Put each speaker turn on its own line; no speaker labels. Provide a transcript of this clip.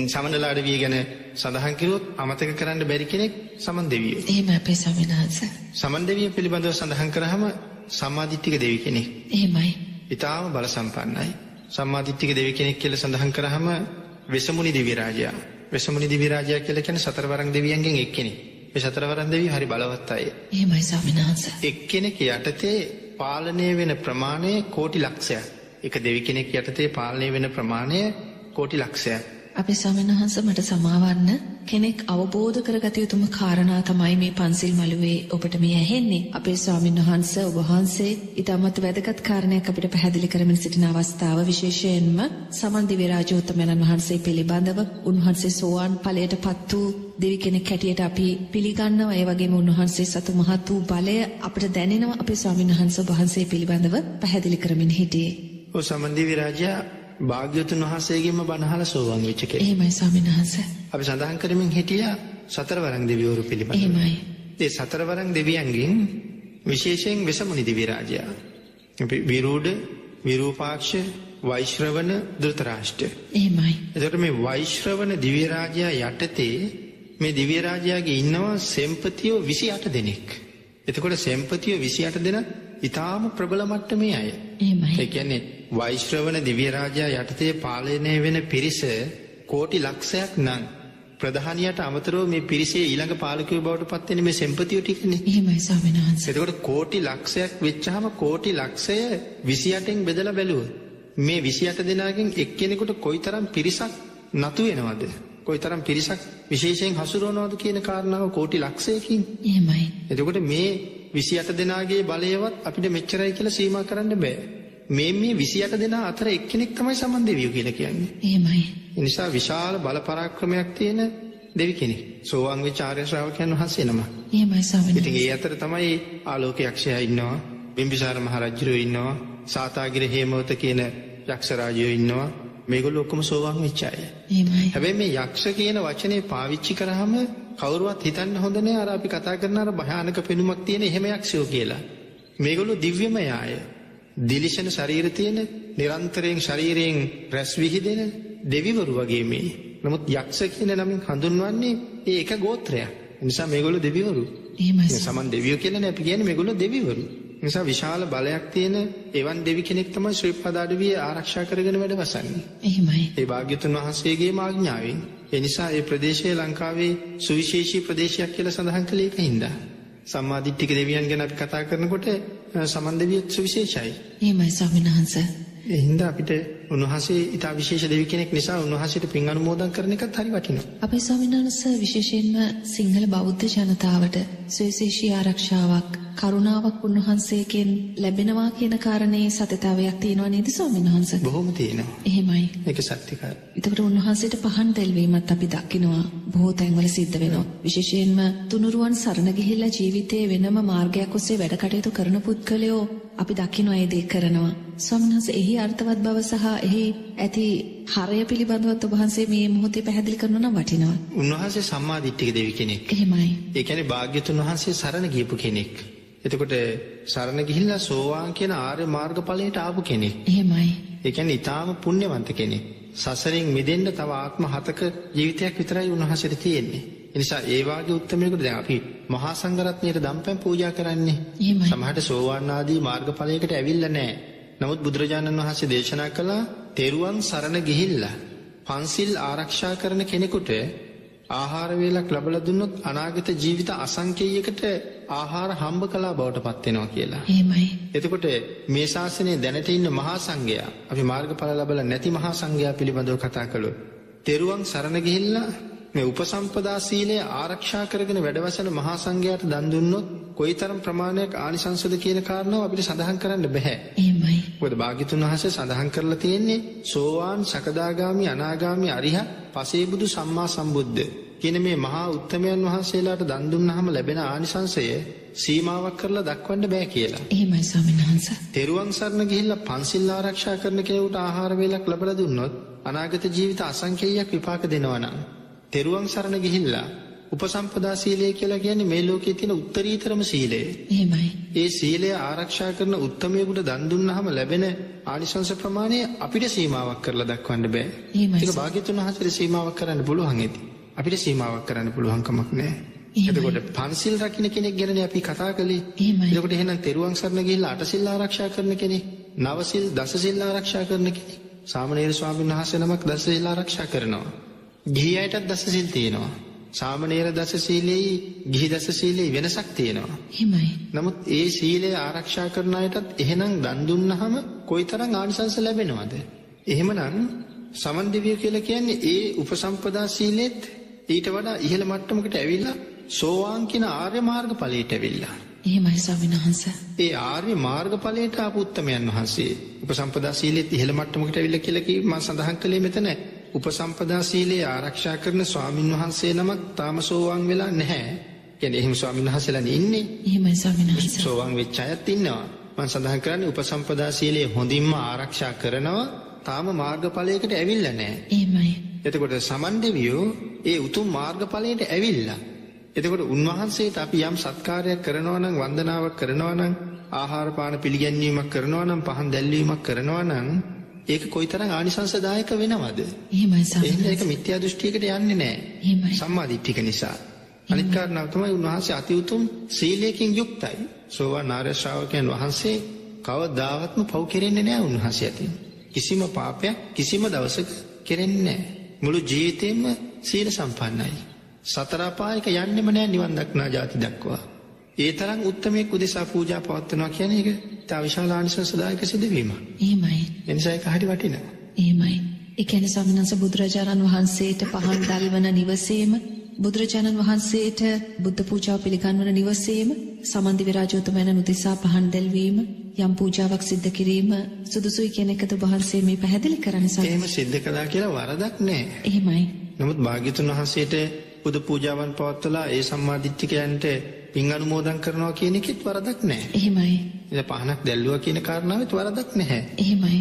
සමනලාට විය ගැන සඳහන් කිරුවොත් අමතක කරන්න බැරි කෙනෙක් සමන් දෙවියෝ.
එහෙම අපේ ස්වාමීන් වහන්සේ.
සමන් දෙවිය පිළිබඳව සඳහන් කරාම සම්මාදිට්ඨික දෙවි කෙනෙක්.
එහෙමයි.
ඊටාම බල සම්පන්නයි. සම්මාදිට්ඨික දෙවි කෙනෙක් කියලා සඳහන් කරාම වෙසමුණි දිවි රාජයා. වෙසමුණි දිවි රාජයා කියලා කියන්නේ සතරවරම් දෙවියන්ගෙන් එක්කෙනෙක්. මේ සතරවරම් දෙවියන් හරි බලවත් අය.
එහෙමයි ස්වාමීන් වහන්සේ.
එක්කෙනෙක් යටතේ පාලනය වෙන ප්‍රමාණය කෝටි ලක්ෂයක්. එක දෙවි කෙනෙක් යටතේ පාලනය වෙන ප්‍රමාණය කෝටි ලක්ෂයක්.
අපේ ස්වාමීන් වහන්සේ මට සමාවන්න කෙනෙක් අවබෝධ කරගත යුතුම කාරණා තමයි මේ පන්සිල් මළුවේ ඔබට මේ ඇහෙන්නේ. අපේ ස්වාමීන් වහන්සේ ඔබ වහන්සේ ඊටමත් වැදගත් කාරණයක් අපිට පැහැදිලි කරමින් සිටින අවස්ථාව විශේෂයෙන්ම සමන් දිවිරාජෝත්තමයන්න් වහන්සේ පිළිබඳව උන්වහන්සේ සෝවාන් ඵලයට පත් වූ දෙවි කෙනෙක් හැටියට අපි පිළිගන්නවා. ඒ වගේම උන්වහන්සේ සතු මහත් වූ බලය අපිට දැනෙනවා. අපේ ස්වාමීන් වහන්සේ ඔබ වහන්සේ පිළිබඳව පැහැදිලි කරමින් හිටියේ.
ඔය සමන් දිවි රාජයා භාග්‍යවතුන් වහන්සේගෙන්ම බණහල සෝවන් වෙච්ච කෙනෙක්.
එහෙමයි ස්වාමීන් වහන්සේ.
අපි සඳහන් කරමින් හිටියා සතරවරම් දෙවිවරු පිළිබඳව.
එහෙමයි.
ඒ සතරවරම් දෙවියන්ගෙන් විශේෂයෙන් වෙසමුණි දිවි රාජයා. අපි විරූඩ, විරූපාක්ෂ, වෛශ්‍රවණ, ධෘතරාෂ්ට්‍ර.
එහෙමයි.
එතකොට මේ වෛශ්‍රවණ දිව්‍ය රාජයා යටතේ මේ දිව්‍ය රාජයාගේ ඉන්නවා සෙම්පතියෝ 28 දෙනෙක්. එතකොට සෙම්පතියෝ 28 දෙනා ඊටාම ප්‍රබල මට්ටමේ අය.
එහෙමයි.
ඒ කියන්නේ වෛශ්‍රවණ දිව්‍ය රාජයා යටතේ පාලනය වෙන පිරිස කෝටි ලක්ෂයක් නම් ප්‍රධානියට අමතරව මේ පිරිසේ ඊළඟ පාලකයෝ බවට පත් වෙන්නේ මේ සෙම්පතියෝ ටිකනේ.
එහෙමයි ස්වාමීන් වහන්සේ.
එතකොට කෝටි ලක්ෂයක් වෙච්චාම කෝටි ලක්ෂය 28න් බෙදලා බැලුවොත් මේ 28 දෙනාගෙන් එක්කෙනෙකුට කොයිතරම් පිරිසක් නතු වෙනවද? කොයිතරම් පිරිසක් විශේෂයෙන් හසුරවනවද කියන කාරණාව කෝටි ලක්ෂයකින්.
එහෙමයි.
එතකොට මේ 28 දෙනාගේ බලයවත් අපිට මෙච්චරයි කියලා සීමා කරන්න බෑ. මේ මේ 28 දෙනා අතර එක්කෙනෙක් තමයි සමන් දෙවියෝ කියලා කියන්නේ.
එහෙමයි.
ඒ නිසා විශාල බල පරාක්‍රමයක් තියෙන දෙවි කෙනෙක්. සෝවාන් වෙච්ච ආර්ය ශ්‍රාවකයන් වහන්සේ නමක්.
එහෙමයි ස්වාමීන්
ඉතින් ඒ අතර තමයි ආලෝක යක්ෂයා ඉන්නවා බිම්බිසාර මහරජුරෝ ඉන්නවා සාතාගිර හේමවත කියන යක්ෂ රාජයෝ ඉන්නවා මේගොල්ලෝ ඔක්කොම සෝවාන් වෙච්ච අය.
එහෙමයි.
හැබැයි මේ යක්ෂ කියන වචනේ පාවිච්චි කරාම කවුරුවත් හිතන්න හොඳ නෑ අර අපි කතා කරන අර භයානක පෙනුමක් තියෙන එහෙම යක්ෂයෝ කියලා. මේගොල්ලෝ දිව්‍යමය අය. දිලිසෙන ශරීර තියෙන නිරන්තරයෙන් ශරීරයෙන් රැස් විහිදෙන දෙවිවරු වගේ මේ. නමුත් යක්ෂ කියන නමින් හඳුන්වන්නේ ඒ එක ගෝත්‍රයක්. ඒ නිසා මේගොල්ලෝ දෙවිවරු.
එහෙමයි.
ඒ සමන් දෙවියෝ කියලා නෑ අපි කියන්නේ මේගොල්ලෝ දෙවිවරු. ඒ නිසා විශාල බලයක් තියෙන එවන් දෙවි කෙනෙක් තමයි ශ්‍රී පදාඩවිය ආරක්ෂා කරගෙන වැඩවසන්නේ.
එහෙමයි.
ඒ භාග්‍යතුන් වහන්සේගේ මාඥාවෙන්. ඒ නිසා ඒ ප්‍රදේශය ලංකාවේ සුවිශේෂී ප්‍රදේශයක් කියලා සඳහන් කළේ ඒකින්ද. සම්මාදිට්ඨික දෙවියන් ගැන අපි කතා කරනකොට අ, සමන් දෙවියොත් සුවිශේෂයි.
එහෙමයි ස්වාමීන් වහන්සේ.
ඒ හින්දා අපිට උන්වහන්සේ ඊට විශේෂ දෙවි කෙනෙක් නිසා උන්වහන්සේට පින් අනුමෝදන් කරන එකත් හරි වටිනවා.
අපේ ස්වාමීන් වහන්සේ විශේෂයෙන්ම සිංහල බෞද්ධ ජනතාවට සුවිශේෂී ආරක්ෂාවක් කරුණාවක් උන්වහන්සේකෙන් ලැබෙනවා කියන කාරණේ සතතාවයක් තියෙනවා නේද ස්වාමීන් වහන්සේ?
බොහොම තියෙනවා.
එහෙමයි.
ඒක සත්‍යකාරයි.
එතකට උන්වහන්සේට පහන් තැල්වීමත් අපි දකිනවා බොහෝ තැන්වල සිද්ධ වෙනවා. විශේෂයෙන්ම තුනුරුවන් සරණ ගිහිල්ලා ජීවිතයේ වෙනම මාර්ගයක් ඔස්සේ වැඩ කටයුතු කරන පුද්ගලයෝ අපි දකිනවා ඒ දේ කරනවා. ස්වාමින්වහන්සේ එහි අර්ථවත් බව සහ එහි ඇති හරය පිළිබඳවත් ඔබ වහන්සේ මේ මොහොතේ පැහැදිලි කරනවා නම් වටිනවා.
උන්වහන්සේ සම්මාදිට්ඨික දෙවි කෙනෙක්.
එහෙමයි.
ඒ කියන්නේ භාග්‍යතුන් වහන්සේ සරණ ගියපු කෙනෙක්. එතකොට සරණ ගිහිල්ලා සෝවාන් කියන ආර්ය මාර්ගඵලයට ආපු කෙනෙක්.
එහෙමයි.
ඒ කියන්නේ ඊටාම පුණ්‍යවන්ත කෙනෙක්. සසරින් මිදෙන්න තව ආත්ම හතක ජීවිතයක් විතරයි උන්වහන්සේට තියෙන්නේ. ඒ නිසා ඒ වාගේ උත්මයකට දැන් අපි මහා සංඝරත්නයට දම්පැන් පූජා කරන්නේ.
එහෙමයි.
සමහරට සෝවාන් ආදී මාර්ගඵලයකට ඇවිල්ලා නැහැ. නමුත් බුදුරජාණන් වහන්සේ දේශනා කළා තෙරුවන් සරණ ගිහිල්ලා පන්සිල් ආරක්ෂා කරන කෙනෙකුට ආහාර වේලක් ලැබලා දුන්නොත් අනාගත ජීවිත අසංකේයයකට ආහාර හම්බ කළා බවට පත් වෙනවා කියලා.
එහෙමයි.
එතකොට මේ ශාසනයේ දැනට ඉන්න මහා සංඝයා අපි මාර්ගඵල ලැබලා නැති මහා සංඝයා පිළිබඳව කතා කළොත් තෙරුවන් සරණ ගිහිල්ලා මේ උපසම්පදා සීලය ආරක්ෂා කරගෙන වැඩවසන මහා සංඝයාට දන් දුන්නොත් කොයිතරම් ප්‍රමාණයක් ආනිසංසද කියන කාරණාව අපිට සඳහන් කරන්න බෑ.
එහෙමයි.
මොකද භාග්‍යතුන් වහන්සේ සඳහන් කරලා තියෙන්නේ සෝවාන් සකදාගාමි අනාගාමි අරිහ පසේබුදු සම්මා සම්බුද්ධ කියන මේ මහා උත්තමයන් වහන්සේලාට දන් දුන්නාම ලැබෙන ආනිසංසය සීමාවක් කරලා දක්වන්න බෑ කියලා.
එහෙමයි ස්වාමීන් වහන්සේ.
තෙරුවන් සරණ ගිහිල්ලා පන්සිල් ආරක්ෂා කරන කෙනෙකුට ආහාර වේලක් ලැබලා දුන්නොත් අනාගත ජීවිත අසංකේයයක් විපාක දෙනවා නම් තෙරුවන් සරණ ගිහිල්ලා උපසම්පදා සීලය කියලා කියන්නේ මේ ලෝකයේ තියෙන උත්තරීතරම සීලය.
එහෙමයි.
ඒ සීලය ආරක්ෂා කරන උත්තමයෙකුට දන් දුන්නාම ලැබෙන ආනිශංස ප්‍රමාණය අපිට සීමාවක් කරලා දක්වන්න බෑ.
එහෙමයි
ඒක
සර්.
භාග්‍යතුන් වහන්සේට සීමාවක් කරන්න පුළුවන් ඇති. අපිට සීමාවක් කරන්න පුළුවන් කමක් නෑ.
එහෙමයි.
එතකොට පන්සිල් රකින්න කෙනෙක් ගැනනේ අපි කතා කළේ.
එහෙමයි.
එතකොට එහෙනම් තෙරුවන් සරණ ගිහිල්ලා අටසිල් ආරක්ෂා කරන කෙනෙක්, නවසිල්, දසසිල් ආරක්ෂා කරන කෙනෙක්. සාමණේර ස්වාමීන් වහන්සේ නමක් දසසිල් ආරක්ෂා කරනවා. ගිහි අයටත් දසසිල් තියෙනවා. සාමණේර දසශීලයේ ගිහි දසශීලයේ වෙනසක් තියෙනවා.
එහෙමයි.
නමුත් ඒ සීලය ආරක්ෂා කරන අයටත් එහෙනම් දන් දුන්නහම කොයිතරම් ආනිසංස ලැබෙනවද? එහෙමනම් සමන් දිවිය කියලා කියන්නේ ඒ උපසම්පදා සීලෙත් ඊට වඩා ඉහළ මට්ටමකට ඇවිල්ලා සෝවාන් කියන ආර්ය මාර්ග ඵලයට ඇවිල්ලා.
එහෙමයි ස්වාමීන් වහන්සේ.
ඒ ආර්ය මාර්ග ඵලයට ආපු උත්තමයන් වහන්සේ උපසම්පදා සීලෙත් ඉහළ මට්ටමකට ඇවිල්ලා කියලා කි මම සඳහන් කළේ මෙතන උපසම්පදා සීලය ආරක්ෂා කරන ස්වාමින් වහන්සේ නමක් තාම සෝවාන් වෙලා නැහැ. කියන්නේ එහෙම ස්වාමින් වහන්සේලා ඉන්නේ
එහෙමයි ස්වාමීන් වහන්සේ.
සෝවාන් වෙච්ච අයත් ඉන්නවා. මම සඳහන් කරන්නේ උපසම්පදා සීලය හොඳින්ම ආරක්ෂා කරනවා. තාම මාර්ගඵලයකට ඇවිල්ලා නැහැ.
එහෙමයි.
එතකොට සමන් දෙවියෝ ඒ උතුම් මාර්ගඵලයට ඇවිල්ලා. එතකොට උන්වහන්සේට අපි යම් සත්කාරයක් කරනවා නම් වන්දනාවක් කරනවා නම් ආහාර පාන පිළිගැන්වීමක් කරනවා නම් පහන් දැල්වීමක් කරනවා නම් ඒක කොයිතරම් ආනිසංසදායක වෙනවද?
එහෙමයි
එහෙනම්
ස්වාමීන්
ඒක
වහන්සේ.
මිත්‍යා දෘෂ්ටියකට යන්නේ නැහැ.
එහෙමයි.
සම්මාදිට්ඨික නිසා අනිත් කාරණාව තමයි උන්වහන්සේ අති උතුම් සීලයෙන් යුක්තයි සෝවාන් ආර්ය ශ්‍රාවකයන් වහන්සේ කවදාවත්ම පව් කෙරෙන්නේ නැහැ උන්වහන්සේ අතින් කිසිම පාපයක් කිසිම දවසක කෙරෙන්නේ නැහැ මුළු ජීවිතේම සීල සම්පන්නයි සතර අපායක යන්නෙම නැහැ නිවන් දක්නා ජාති දක්වා ඒ තරම් උත්මයෙක් උදෙසා පූජා පවත්වනවා කියන්නේ ඒක තා විශාල ආනිසංසදායක සිදුවීමක්
එහෙමයි.
එනිසා ඒක හරි වටිනවා
එහෙමයි. ඒ කියන්නේ ස්වාමීන් වහන්සේ බුදුරජාණන් වහන්සේට පහන් දල්වන නිවසේම බුදුරජාණන් වහන්සේට බුද්ධ පූජාව පිළිගන්වන නිවසේම සමන්දි විරාජෝතමයන් උදෙසා පහන් දැල්වීම යම් පූජාවක් සිද්ධ කිරීම සුදුසුයි කියන එකද ඔබ වහන්සේ මේ පැහැදිලි කරන්නේ
එහෙම
ස්වාමීන්
සිද්ධ කළා කියලා වරදක් නැහැ
වහන්සේ. එහෙමයි.
නමුත් භාග්‍යතුන් වහන්සේට බුදු පූජාවන් පවත්වලා ඒ සම්මාදිට්ඨිකයන්ට පින් අනුමෝදන් කරනවා කියන එකෙත් වරදක් නැහැ.
එහෙමයි.
ඉතින් පහනක් දැල්ලුවා කියන කාරණාවෙත් වරදක් නැහැ.
එහෙමයි.